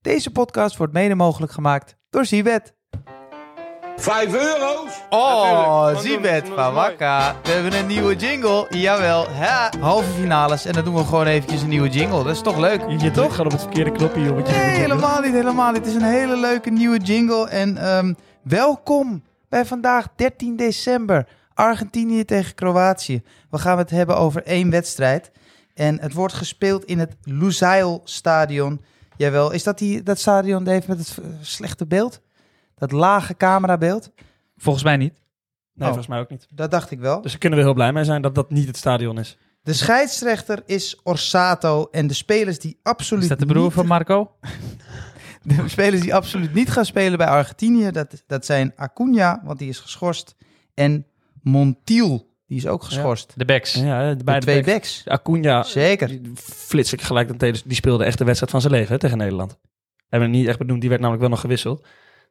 Deze podcast wordt mede mogelijk gemaakt door Zibet. Vijf euro's? Oh, Natuurlijk. Zibet Dat is van mooi. Wakka. We hebben een nieuwe jingle. Jawel, ha. halve finales. En dan doen we gewoon eventjes een nieuwe jingle. Dat is toch leuk, Je toch? toch gaat op het verkeerde knopje, jongetje. Nee, helemaal niet, helemaal niet. Het is een hele leuke nieuwe jingle. En ehm, welkom bij vandaag 13 december. Argentinië tegen Kroatië. We gaan het hebben over één wedstrijd. En het wordt gespeeld in het Luzail Stadion. Jawel, is dat die, dat stadion, Dave, met het eh, slechte beeld? Dat lage camerabeeld? Volgens mij niet. Nee, Oh. volgens mij ook niet. Dat dacht ik wel. Dus daar kunnen we heel blij mee zijn dat dat niet het stadion is. De scheidsrechter is Orsato. En de spelers die absoluut Is dat de broer niet- van Marco? De spelers die absoluut niet gaan spelen bij Argentinië, dat, dat zijn Acuna, want die is geschorst. En Montiel, die is ook geschorst. De backs. Ja, De bij twee de backs. Acuna, Zeker. die flits ik gelijk dan tegen. Die speelde echt de wedstrijd van zijn leven hè, tegen Nederland. Hebben we niet echt benoemd, die werd namelijk wel nog gewisseld.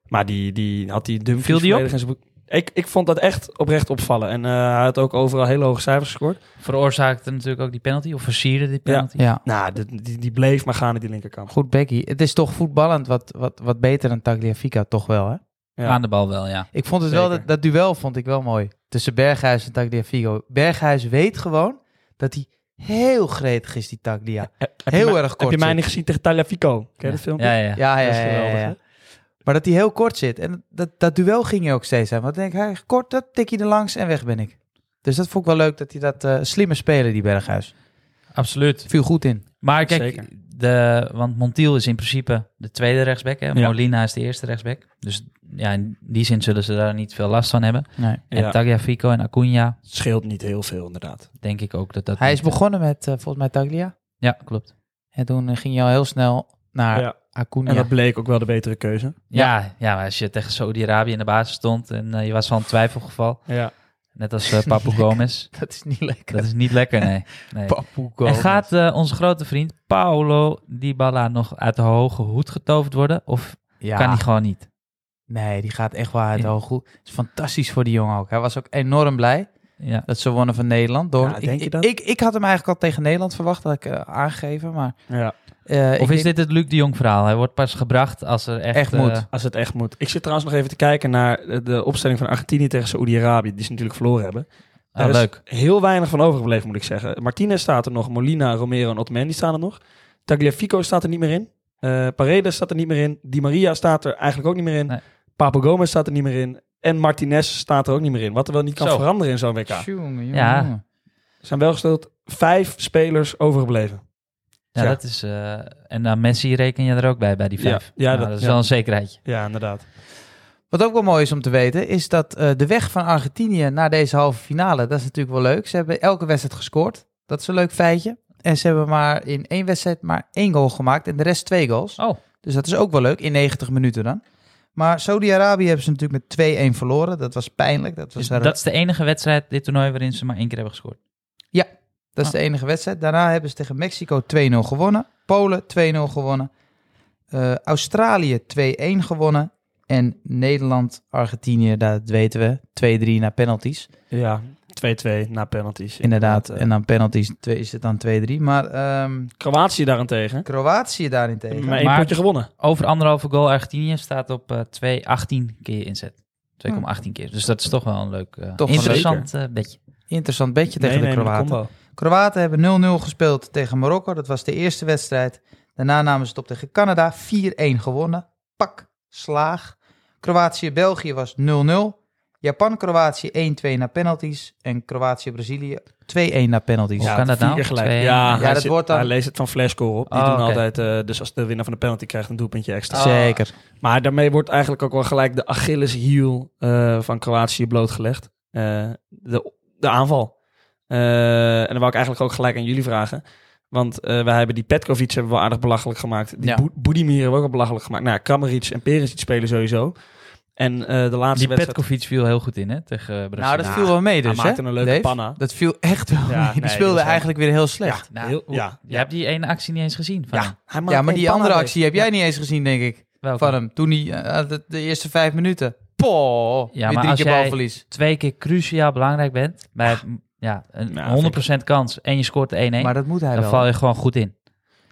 Maar die, die had die Dumfries Viel die op? volledig in zijn boek. Ik, ik vond dat echt oprecht opvallen. En eh, hij had ook overal hele hoge cijfers gescoord. Veroorzaakte natuurlijk ook die penalty. Of versierde die penalty. Ja, Nou, die, die, die bleef maar gaan in die linkerkant. goed Becky. Het is toch voetballend wat, wat, wat beter dan Tagliafico, toch wel hè? Ja. Aan de bal wel, ja. Ik vond het wel, Zeker. dat, dat duel vond ik wel mooi. Tussen Berghuis en Tagliafico. Berghuis weet gewoon dat hij heel gretig is, die Taglia. Heb- Eh, heb je Heel mij- erg kort Heb je mij zit. niet gezien tegen Taliafico? Ken je dat filmpje? Ja, ja. ja. Ja, ja, Dat is ja, ja, geweldig, ja. hè? Maar dat hij heel kort zit. En dat, dat duel ging er ook steeds aan. Want dan denk ik, hij kort, dat tik je er langs en weg ben ik. Dus dat vond ik wel leuk dat hij dat eh, slimme speler, die Berghuis. Absoluut. Viel goed in. Maar kijk, Zeker. de, want Montiel is in principe de tweede rechtsback. Hè? Ja. Molina is de eerste rechtsback. Dus ja, in die zin zullen ze daar niet veel last van hebben. Nee. Ja. En Tagliafico en Acuna, Scheelt niet heel veel, inderdaad. denk ik ook dat dat... Hij is niet- begonnen met eh, volgens mij Taglia. Ja, klopt. En toen eh, ging hij al heel snel naar ja. Acuna. En dat bleek ook wel de betere keuze. Ja, ja. maar als je tegen Saudi-Arabië in de basis stond en eh, je was van een twijfelgeval. Ja. Net als eh, Papu Gomez. Dat is niet Dat lekker. is niet lekker, nee. nee. Papu En Gomez. gaat eh, onze grote vriend Paolo Dybala nog uit de hoge hoed getoverd worden? Of Ja. kan die gewoon niet? Nee, die gaat echt wel uit de Ja. hoog goed. Het is fantastisch voor die jongen ook. Hij was ook enorm blij Ja. dat ze wonnen van Nederland. Door... Ja, denk je ik, dat? Ik, ik had hem eigenlijk al tegen Nederland verwacht, dat ik eh, aangegeven. Maar, ja. eh, ik Of is denk- dit het Luc de Jong verhaal? Hij wordt pas gebracht als er echt... Echt eh, moet. Als het echt moet. Ik zit trouwens nog even te kijken naar eh, de opstelling van Argentinië tegen Saoedi-Arabië, die ze natuurlijk verloren hebben. ah, Daar is leuk. Heel weinig van overgebleven, moet ik zeggen. Martinez staat er nog, Molina, Romero en Otamendi staan er nog. Tagliafico staat er niet meer in. Eh Paredes staat er niet meer in. Di Maria staat er eigenlijk ook niet meer in. Nee. Papo Gomez staat er niet meer in. En Martinez staat er ook niet meer in. Wat er wel niet kan Zo. veranderen in zo'n WK. Er Tjonge, jonge, Ja. jonge. zijn wel gesteld vijf spelers overgebleven. Ja, Ja. dat is... eh, en dan Messi reken je er ook bij, bij die Ja. vijf. Ja, Nou, dat, dat- is ja. wel een zekerheidje. Ja, inderdaad. Wat ook wel mooi is om te weten, is dat eh, de weg van Argentinië naar deze halve finale, dat is natuurlijk wel leuk. Ze hebben elke wedstrijd gescoord. Dat is een leuk feitje. En ze hebben maar in één wedstrijd maar één goal gemaakt en de rest twee goals. Oh, Dus dat is ook wel leuk, in 90 minuten dan. Maar Saudi-Arabië hebben ze natuurlijk met 2-1 verloren. Dat was pijnlijk. Dat, was dus haar- dat is de enige wedstrijd dit toernooi waarin ze maar één keer hebben gescoord. dat Ah. is de enige wedstrijd. Daarna hebben ze tegen Mexico 2-0 gewonnen. Polen 2-0 gewonnen. Eh, Australië 2-1 gewonnen. En Nederland, Argentinië, dat weten we, 2-3 na penalties. Ja, 2-2 na penalties. Inderdaad, eh. en dan penalties twee- is het dan 2-3. Maar ehm, Kroatië daarentegen. Kroatië daarentegen. Maar één Maar- potje gewonnen. Over anderhalve goal Argentinië staat op eh 2,18 keer inzet. 2,18 keer. Dus dat is toch wel een leuk, eh, Oh. Toch wel interessant eh, bedje. Interessant bedje tegen de Meenemende Kroaten. combo. Kroaten hebben 0-0 gespeeld tegen Marokko. Dat was de eerste wedstrijd. Daarna namen ze het op tegen Canada. 4-1 gewonnen. Pak, slaag. Kroatië-België was 0-0. Japan-Kroatië 1-2 na penalties. En Kroatië-Brazilië 2-1 na penalties. Hoe kan dat vier nou? keer Gelijk. Twee- Ja, Ja, hij, dat zit- wordt dan- hij leest het van Flashcore op. Die Oh, doen oké. altijd, eh, dus als de winnaar van de penalty krijgt, een doelpuntje extra. Ah. Zeker. Maar daarmee wordt eigenlijk ook wel gelijk de Achilleshiel eh van Kroatië blootgelegd. Eh, de, de aanval. Eh, en dan wou ik eigenlijk ook gelijk aan jullie vragen. Want eh wij hebben die Petkovic hebben we aardig belachelijk gemaakt. Die Ja. Bo- Budimir hebben we ook al belachelijk gemaakt. Nou, Kramaric en Perisic spelen sowieso. En eh, de laatste Die wedstrijd... Petkovic viel heel goed in, hè, tegen eh, Brazilië. Nou, dat viel wel mee Hij dus, hè? maakte een leuke Dave? panna. Dat viel echt wel Ja, mee. Die nee, dat speelde was wel- eigenlijk weer heel slecht. Nou, heel- hoe- ja. Je hebt die ene actie niet eens gezien van hem. hij maakt Ja, maar één die panna andere mee. actie heb jij niet eens gezien, denk ik. Welke? Van hem. Toen hij eh, de, de eerste vijf minuten. Poh, Ja, weer maar drie als keer jij- balverlies. Twee keer cruciaal belangrijk bent. Bij ja, een Nou, 100% kans en je scoort de 1-1. Maar dat moet hij dan wel. val je gewoon goed in.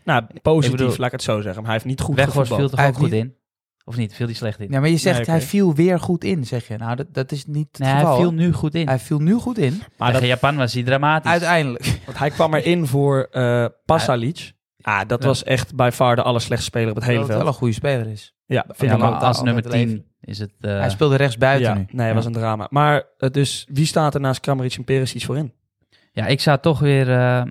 Nou, positief, Ik bedoel- laat ik het zo zeggen. Maar hij heeft niet goed Weghorst viel gevoetbald. Hij toch ook heeft goed in? Of niet? Viel die slecht in? Ja, maar je zegt Nee, oké. hij viel weer goed in, zeg je. Nou, dat, dat is niet het nee, hij geval. viel nu goed in. hij viel nu goed in. Maar dat- Tegen Japan was hij dramatisch. Uiteindelijk. want hij kwam erin voor eh Pasalic. Ah, dat Ja. was echt bij far de allerslechtste speler op het hele Dat het wel veld. een goede speler is. Ja, vind ja, ik maar ook. al- als al- nummer altijd 10 is het... eh, hij speelde rechts buiten Ja, nu. nee, dat was een drama. Maar eh, dus wie staat er naast Kramaric en Perisic voorin? Ja, ik zou toch weer eh,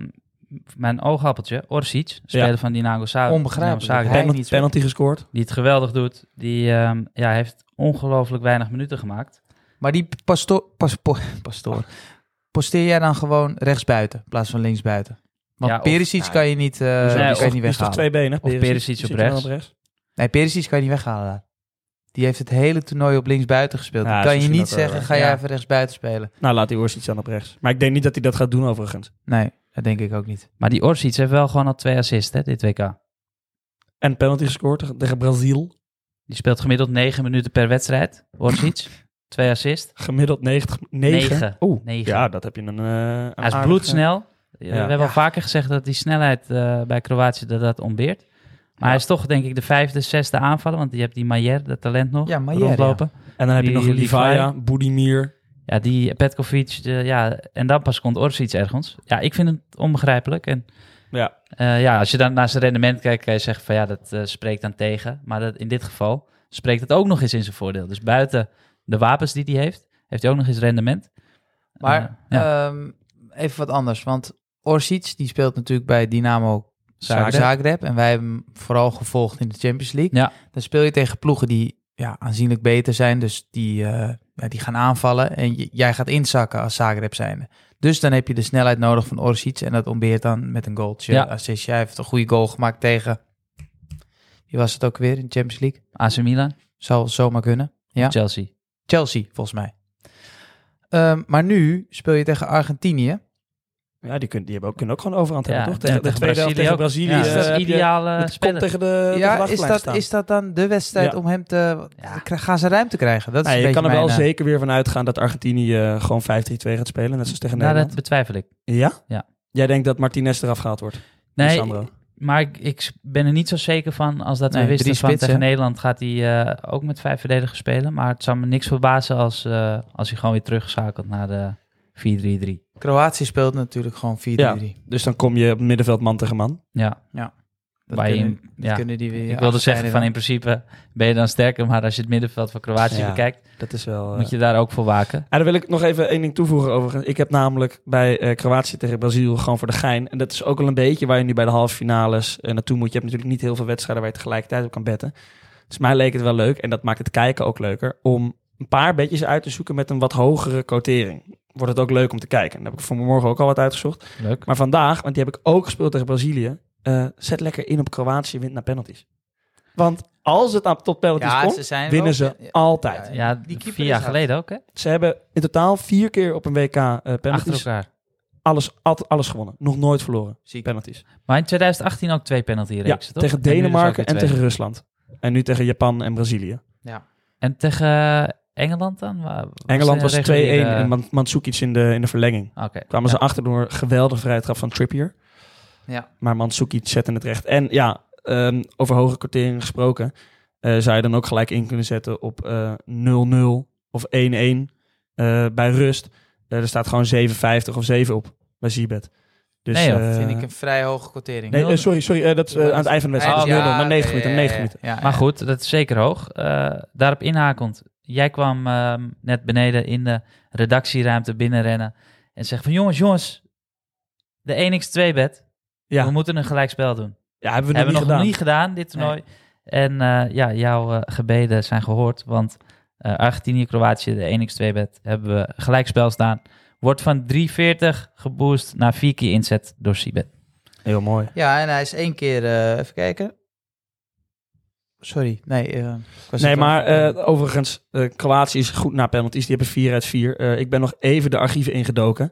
mijn oogappeltje, Orsic, speler van Dinago Zagreb. Onbegrijpelijk. Dinago Zagreb, Hij Penalty, niet, penalty gescoord. die het geweldig doet. Die ehm, ja, heeft ongelooflijk weinig minuten gemaakt. Maar die pastoor, pas, po- pastoor, posteer jij dan gewoon rechtsbuiten in plaats van linksbuiten? Want Ja, of- Perisic ja, kan je niet, eh Dus kan nee, je die of- niet is toch weghalen. twee benen? Perisic op Zit je dan rechts. Nee, Perisic kan je niet weghalen. daar. Die heeft het hele toernooi op linksbuiten gespeeld. Ja, Dan dat kan is je niet misschien ook wel zeggen, waar. ga jij Ja. even rechtsbuiten spelen? Nou, laat die Orsic dan op rechts. Maar ik denk niet dat hij dat gaat doen overigens. Nee, dat denk ik ook niet. Maar die Orsic heeft wel gewoon al twee assists, hè, dit WK. En penalty gescoord tegen- tegen Brazil. Die speelt gemiddeld 9 minuten per wedstrijd. Orsic, twee assists. Gemiddeld 90. 9. Negen. Oeh, Negen. ja, dat heb je een... eh, een Hij is aardige- bloedsnel. Eh, We hebben Ja. al vaker gezegd dat die snelheid eh, bij Kroatië dat dat ontbeert. Maar hij is toch denk ik de vijfde, zesde aanvaller. Want je hebt die Maier, dat talent nog, Ja, Maier, rondlopen. En dan heb je Die nog Livaya, Livaja, Budimir. Ja, die Petkovic, de- ja, en dan pas komt Orsic ergens. Ja, ik vind het onbegrijpelijk. En Ja. eh, ja, als je dan naar zijn rendement kijkt, kan je zeggen van ja, dat eh, spreekt dan tegen. Maar dat, in dit geval spreekt het ook nog eens in zijn voordeel. Dus buiten de wapens die hij heeft, heeft hij ook nog eens rendement. Eh, Maar ja. ehm, even wat anders. Want Orsic die speelt natuurlijk bij Dynamo Zagreb. Zagreb. En wij hebben hem vooral gevolgd in de Champions League. Ja. Dan speel je tegen ploegen die ja, aanzienlijk beter zijn. Dus die, eh, ja, die gaan aanvallen. En j- jij gaat inzakken als Zagreb zijnde. Dus dan heb je de snelheid nodig van Orsic. En dat ontbeert dan met een goaltje. Ja. Assistje. Hij heeft een goede goal gemaakt tegen... Wie was het ook weer in de Champions League? AC Milan, Zou zomaar kunnen. Ja. Chelsea. Chelsea, volgens mij. Ehm, maar nu speel je tegen Argentinië. Ja, die, kun, die hebben ook, kunnen ook gewoon overhand hebben, Ja, toch? Tegen, ja, de tegen tweede helft tegen Brazilië Brazilië. eh, ook. Ja, dat is heb je de met ideale de kont speler. tegen de, de ja, is vlachtlijn dat, staan. is dat dan de wedstrijd Ja. om hem te... Ja. kra- Gaan ze ruimte krijgen? Dat is Nee, een je kan er beetje wel mijn, eh, zeker weer van uitgaan dat Argentinië eh, gewoon 5-3-2 gaat spelen. Net zoals tegen Nou, Nederland. dat betwijfel ik. Ja? Ja. Jij denkt dat Martinez eraf gehaald wordt? Nee, eh, Lisandro. maar ik, ik ben er niet zo zeker van als dat Nee, we wisten drie van spitsen. tegen Nederland gaat hij eh, ook met vijf verdedigers spelen. Maar het zou me niks verbazen als, eh, als hij gewoon weer teruggeschakeld naar de 4-3-3. Kroatië speelt natuurlijk gewoon 4-3-3. Dus dan kom je op middenveld man tegen man. Ja, Dat, Waar je- kunnen, dat ja. kunnen die weer... ik wilde afscheiden zeggen van dan. in principe ben je dan sterker. Maar als je het middenveld van Kroatië Ja. bekijkt, Dat is wel... eh, moet je daar ook voor waken. En dan wil ik nog even één ding toevoegen overigens. Ik heb namelijk bij eh, Kroatië tegen Brazil gewoon voor de gein. En dat is ook wel een beetje waar je nu bij de halve finales eh, naartoe moet. Je hebt natuurlijk niet heel veel wedstrijden waar je tegelijkertijd op kan betten. Dus mij leek het wel leuk, en dat maakt het kijken ook leuker, om een paar bedjes uit te zoeken met een wat hogere quotering. Wordt het ook leuk om te kijken. Daar heb ik voor morgen ook al wat uitgezocht. Leuk. Maar vandaag, want die heb ik ook gespeeld tegen Brazilië, eh, zet lekker in op Kroatië wint naar penalties. Want als het aan- tot penalties Ja, ze komt, zijn winnen wel- ze ja, altijd. Ja, Ja, Die keeper vier is jaar hard. geleden ook hè? Ze hebben in totaal vier keer op een WK eh, Achter penalties. elkaar. Alles, al- alles gewonnen. Nog nooit verloren. Ziek. Penalties. Maar in 2018 ook twee penalty Ja, reeksen, toch? tegen En nu dus ook Denemarken weer en, twee. tegen Rusland. En nu tegen Japan en Brazilië. En tegen eh, Engeland dan? Wa- Engeland er was 2-1 een reguliere- Ah, en Man- Mandzukic in de, in de verlenging. Oké. Kwamen Ja. ze achter door een geweldige vrije trap van Trippier. Ja. Maar Mandzukic zette het recht. En ja, ehm, over hoge kwartering gesproken... eh, zou je dan ook gelijk in kunnen zetten op eh, 0-0 of 1-1 eh, bij rust. Eh, er staat gewoon 7,50 of 7 op bij Zibet. Dus, Nee, joh, eh, Dat vind ik een vrij hoge quotering. Nee, eh, sorry, sorry eh, dat is eh, aan het eind van de wedstrijd. Ah, Dat is 0-0, ja, na 90 oké, minuten. na ja, ja, 90 minuten. ja, ja. Maar goed, dat is zeker hoog. Eh, daarop inhakend. Jij kwam ehm, net beneden in de redactieruimte binnenrennen. En zegt van jongens, jongens. De 1x2-bed. We Ja, moeten een gelijkspel doen. ja, hebben we nog Hebben niet we nog gedaan. niet gedaan, dit toernooi. En eh, ja, jouw eh, gebeden zijn gehoord. Want eh, Argentinië, Kroatië, de 1x2-bed hebben we gelijkspel staan. Wordt van 3,40 geboost naar 4 keer inzet door Sibet. Heel mooi. Ja, en hij is één keer... eh, even kijken. Sorry, nee. eh, ik was Nee, het maar wel- eh, overigens, eh, Kroatië is goed na penalties. Die hebben 4 uit 4. Eh, ik ben nog even de archieven ingedoken.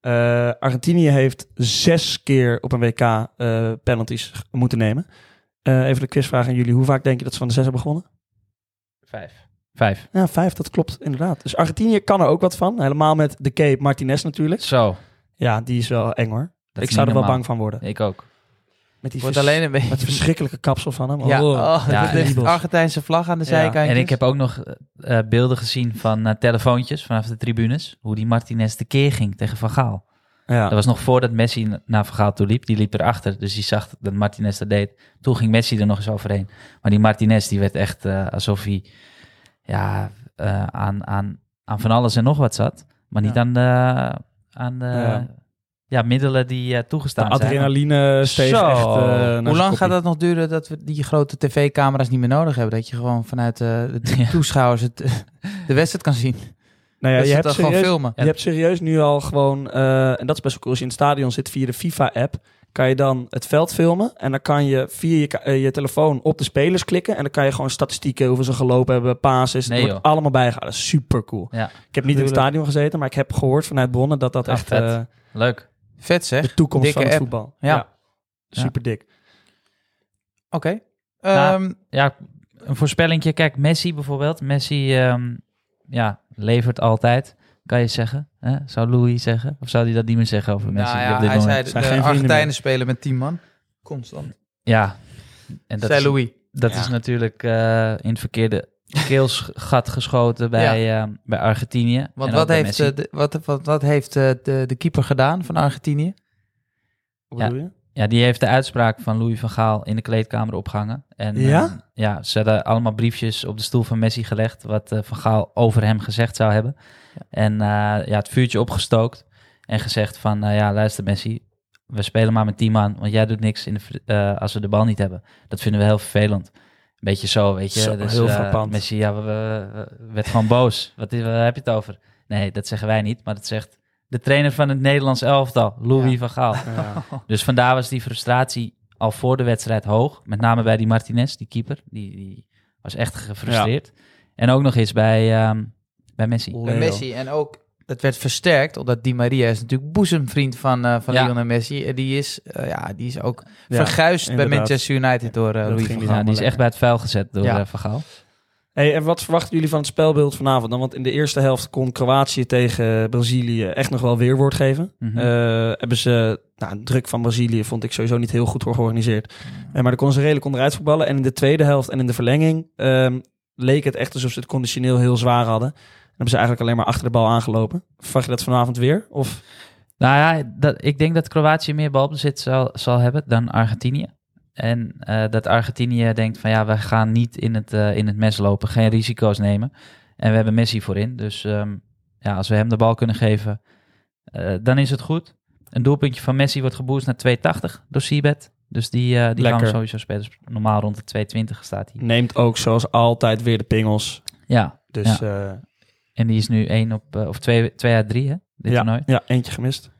Eh, Argentinië heeft zes keer op een WK eh, penalties g- moeten nemen. Eh, even de quizvraag aan jullie. Hoe vaak denk je dat ze van de zes hebben gewonnen? Vijf. Vijf. Ja, vijf, dat klopt inderdaad. Dus Argentinië kan er ook wat van. Helemaal met de Cape Martinez natuurlijk. Zo. Ja, die is wel eng hoor. dat ik is zou er niet wel normaal. bang van worden. Ik ook. Met die Wordt vers- alleen een beetje... met het verschrikkelijke kapsel van hem. Ja, Oh. oh, Ja, dat ligt de kriebels. Argentijnse vlag aan de Ja, zijkantjes. En ik heb ook nog eh, eh, beelden gezien van eh, telefoontjes vanaf de tribunes. Hoe die Martinez tekeer ging tegen Van Gaal. Ja. Dat was nog voordat Messi na- naar Van Gaal toe liep. Die liep erachter, dus die zag dat Martinez dat deed. Toen ging Messi er nog eens overheen. Maar die Martinez, die werd echt eh, alsof hij ja, eh, aan, aan, aan van alles en nog wat zat. Maar niet Ja. aan de, aan de Ja. ja. middelen die eh, De toegestaan zijn. adrenaline steeg Zo. echt. eh, naar Hoe zijn lang koppie. gaat dat nog duren dat we die grote tv-camera's niet meer nodig hebben? Dat je gewoon vanuit eh, de Ja. toeschouwers het, de wedstrijd kan zien. Nou ja, dat ze je het hebt dan gewoon serieus, filmen. Je hebt serieus nu al gewoon, eh, en dat is best wel cool, als je in het stadion zit via de FIFA-app, kan je dan het veld filmen en dan kan je via je, ka- eh, je telefoon op de spelers klikken en dan kan je gewoon statistieken, hoeveel ze gelopen hebben, passes, Nee, het wordt joh. allemaal bijgehouden. Super cool. Ja. Ik heb niet in het Tuurlijk. stadion gezeten, maar ik heb gehoord vanuit bronnen dat dat Echt echt vet. eh, Leuk. Vet zeg. Oké. de toekomst Dikke van het app. voetbal. Ja. Ja. Super dik. Nou, Ehm, Ja, een voorspellingje. Kijk, Messi bijvoorbeeld. Messi ehm, ja, levert altijd, kan je zeggen. Hè? Zou Louis zeggen? Of zou hij dat niet meer zeggen over Messi? nou op ja, dit hij moment? zei Zijn de geen vrienden Argentijnen meer. spelen met 10 man. Constant. Ja. En dat zei is, Louis. dat Ja. is natuurlijk eh, in het verkeerde keelsgat geschoten bij, eh, bij Argentinië. Want En ook wat bij heeft, Messi. eh, de, wat, wat, wat heeft eh, de, de keeper gedaan van Argentinië? Wat Ja. bedoel je? Ja, die heeft de uitspraak van Louis van Gaal in de kleedkamer opgehangen. En, Ja? eh, ja, ze hadden allemaal briefjes op de stoel van Messi gelegd... wat eh, van Gaal over hem gezegd zou hebben. En eh, ja, het vuurtje opgestookt en gezegd van... nou ja, luister Messi, we spelen maar met 10 man... want jij doet niks in de, vri- eh, als we de bal niet hebben. Dat vinden we heel vervelend. Een beetje zo, weet je. Zo, dus, heel eh, frappant. Messi ja, we, we- we- werd gewoon boos. Wat, is, waar heb je het over? Nee, dat zeggen wij niet, maar dat zegt... De trainer van het Nederlands elftal, Louis Ja. van Gaal. Ja. Dus vandaar was die frustratie al voor de wedstrijd hoog. Met name bij die Martinez, die keeper. Die, die was echt gefrustreerd. En ook nog eens bij, ehm, bij Messi. Bij Messi. En ook, het werd versterkt, omdat Di Maria is natuurlijk boezemvriend van, eh, van Ja. Lionel Messi. En die is, eh, ja, die is ook Ja, verguisd bij inderdaad. Manchester United door eh, dat Louis ging van niet Gaal. Ja, die is echt bij het vuil gezet door Ja. eh, Van Gaal. Hey, en wat verwachten jullie van het spelbeeld vanavond dan? Want in de eerste helft kon Kroatië tegen Brazilië echt nog wel weerwoord geven. Mhm. Eh, hebben ze, nou, druk van Brazilië vond ik sowieso niet heel goed georganiseerd. Eh, maar daar konden ze redelijk onderuit voetballen. En in de tweede helft en in de verlenging ehm, leek het echt alsof ze het conditioneel heel zwaar hadden. En hebben ze eigenlijk alleen maar achter de bal aangelopen. Verwacht je dat vanavond weer? Of Nou ja, dat, ik denk dat Kroatië meer balbezit zal, zal hebben dan Argentinië. En eh, dat Argentinië denkt van ja, we gaan niet in het, eh, in het mes lopen, geen risico's nemen. En we hebben Messi voorin, dus ehm, ja, als we hem de bal kunnen geven, eh, dan is het goed. Een doelpuntje van Messi wordt geboost naar 2,80 door Seabed. Dus die, eh, die gaan we Lekker. sowieso spelen. Dus normaal rond de 2,20 staat hij. neemt ook zoals altijd weer de pingels. Ja, Dus ja, en die is nu 1 op, eh, of 2 twee uit 3 hè, dit toernooi. ja, ja eentje gemist.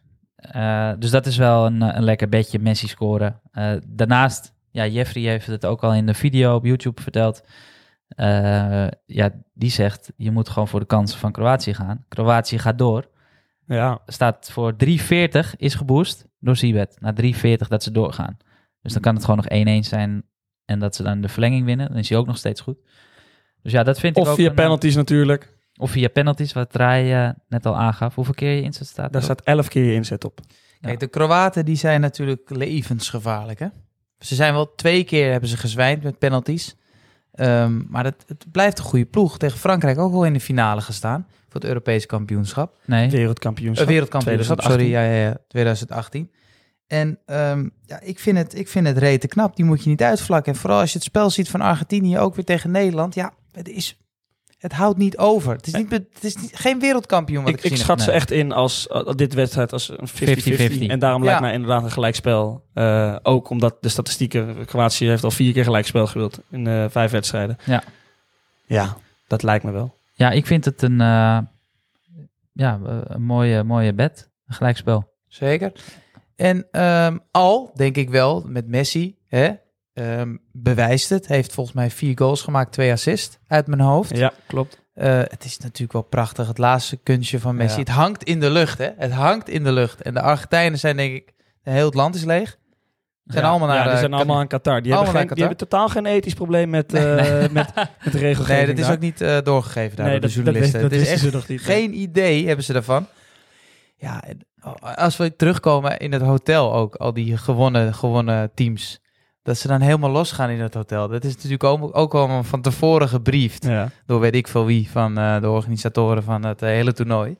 Eh, dus dat is wel een, eh, een lekker bedje, Messi scoren. Eh, daarnaast, ja, Jeffrey heeft het ook al in de video op YouTube verteld. Eh, ja, die zegt, je moet gewoon voor de kansen van Kroatië gaan. Kroatië gaat door. Ja, Staat voor 3,40, is geboost door Zibet. Na 3,40 dat ze doorgaan. Dus dan kan het gewoon nog 1-1 zijn en dat ze dan de verlenging winnen. Dan is hij ook nog steeds goed. Dus ja, dat vind ik of ook... via een- penalties natuurlijk. Of via penalties, wat Rai eh, net al aangaf. Hoeveel keer je inzet staat Daar erop? staat elf keer je inzet op. Kijk, de Kroaten die zijn natuurlijk levensgevaarlijk. Hè? Ze zijn wel twee keer hebben ze gezwijnd met penalties. Ehm, maar dat, het blijft een goede ploeg. Tegen Frankrijk ook wel in de finale gestaan. Voor het Europese kampioenschap. Nee. Eh, Wereldkampioenschap. wereldkampioenschap, 2018. sorry. Ja, ja, ja, 2018. En ehm, ja, ik vind het, ik vind het rete knap. Die moet je niet uitvlakken. En vooral als je het spel ziet van Argentinië ook weer tegen Nederland. Ja, het is... Het houdt niet over. Het is, niet, be- het is niet, geen wereldkampioen wat ik, Ik, ik gezien schat ze nee. echt in als, als dit wedstrijd als een 50-50. 50-50. En daarom lijkt Ja. mij inderdaad een gelijkspel. Eh, ook omdat de statistieken, Kroatië heeft al vier keer gelijkspel gewild in eh, vijf wedstrijden. Ja. Ja, dat lijkt me wel. Ja, ik vind het een, eh, ja, eh, een mooie, mooie bet. Een gelijkspel. Zeker. En ehm, al, denk ik wel, met Messi, hè, ehm, bewijst het. Heeft volgens mij vier goals gemaakt, twee assists uit mijn hoofd. Ja, klopt. Eh, het is natuurlijk wel prachtig, het laatste kunstje van Messi. Ja. Het hangt in de lucht, hè. Het hangt in de lucht. En de Argentijnen zijn, denk ik, heel het land is leeg. Zijn ja. allemaal naar... Ja, die eh, zijn allemaal aan Qatar. Die, hebben, allemaal geen, naar die Qatar. hebben totaal geen ethisch probleem met, eh met, met de regelgeving. Nee, dat is daar. ook niet eh, doorgegeven daar Nee, door dat, de journalisten. dat, dat het is wisten echt ze nog niet. geen idee hebben ze daarvan. Ja, en als we terugkomen in het hotel ook, al die gewonnen, gewonnen teams. Dat ze dan helemaal losgaan in het hotel. Dat is natuurlijk ook, ook allemaal van tevoren gebriefd. Ja. Door weet ik veel wie van eh, de organisatoren van het eh, hele toernooi.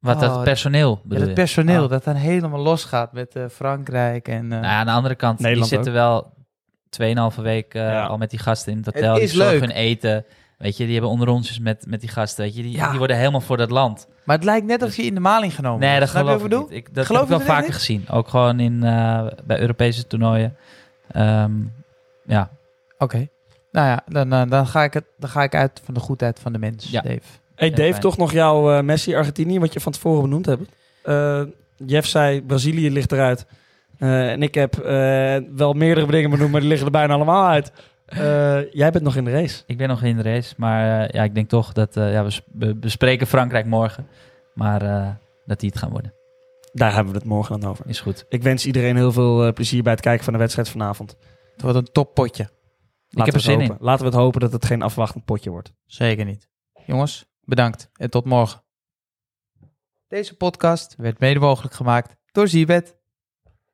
Wat Oh, dat personeel Ja, bedoel het je? personeel Oh. dat dan helemaal losgaat met eh, Frankrijk. En, eh, Nou, aan de andere kant, Nederland die zitten wel 2,5 week eh, Ja. al met die gasten in het Het hotel. is die zorgen leuk. hun eten. Weet je, die hebben onderrondjes met, met die gasten. Weet je, die, Ja. die worden helemaal voor dat land. Oh, Maar het lijkt net alsof je in de maling genomen nee, dat wordt. Snap je geloof wat ik ik bedoel? niet. Ik, dat Geloof heb ik je wel dat vaker niet? gezien. Ook gewoon in, eh, bij Europese toernooien. Ehm, ja, Oké. Nou ja, dan, eh, dan, ga ik het, dan ga ik uit van de goedheid van de mens, Ja. Dave. Hey Ja, Dave, fijn. toch nog jouw eh, Messi Argentinië, wat je van tevoren benoemd hebt. Eh, Jeff zei, Brazilië ligt eruit. Eh, en ik heb eh, wel meerdere dingen benoemd, maar die liggen er bijna allemaal uit. Eh, jij bent nog in de race. ik ben nog in de race. Maar eh, ja, ik denk toch dat... eh, ja, we, sp- we bespreken Frankrijk morgen. Maar eh, dat die het gaan worden. Daar hebben we het morgen dan over. Is goed. Ik wens iedereen heel veel eh, plezier bij het kijken van de wedstrijd vanavond. Het wordt een toppotje. heb we er het zin in. hopen. Laten we het hopen dat het geen afwachtend potje wordt. Zeker niet. Jongens, bedankt en tot morgen. Deze podcast werd mede mogelijk gemaakt door Zibet.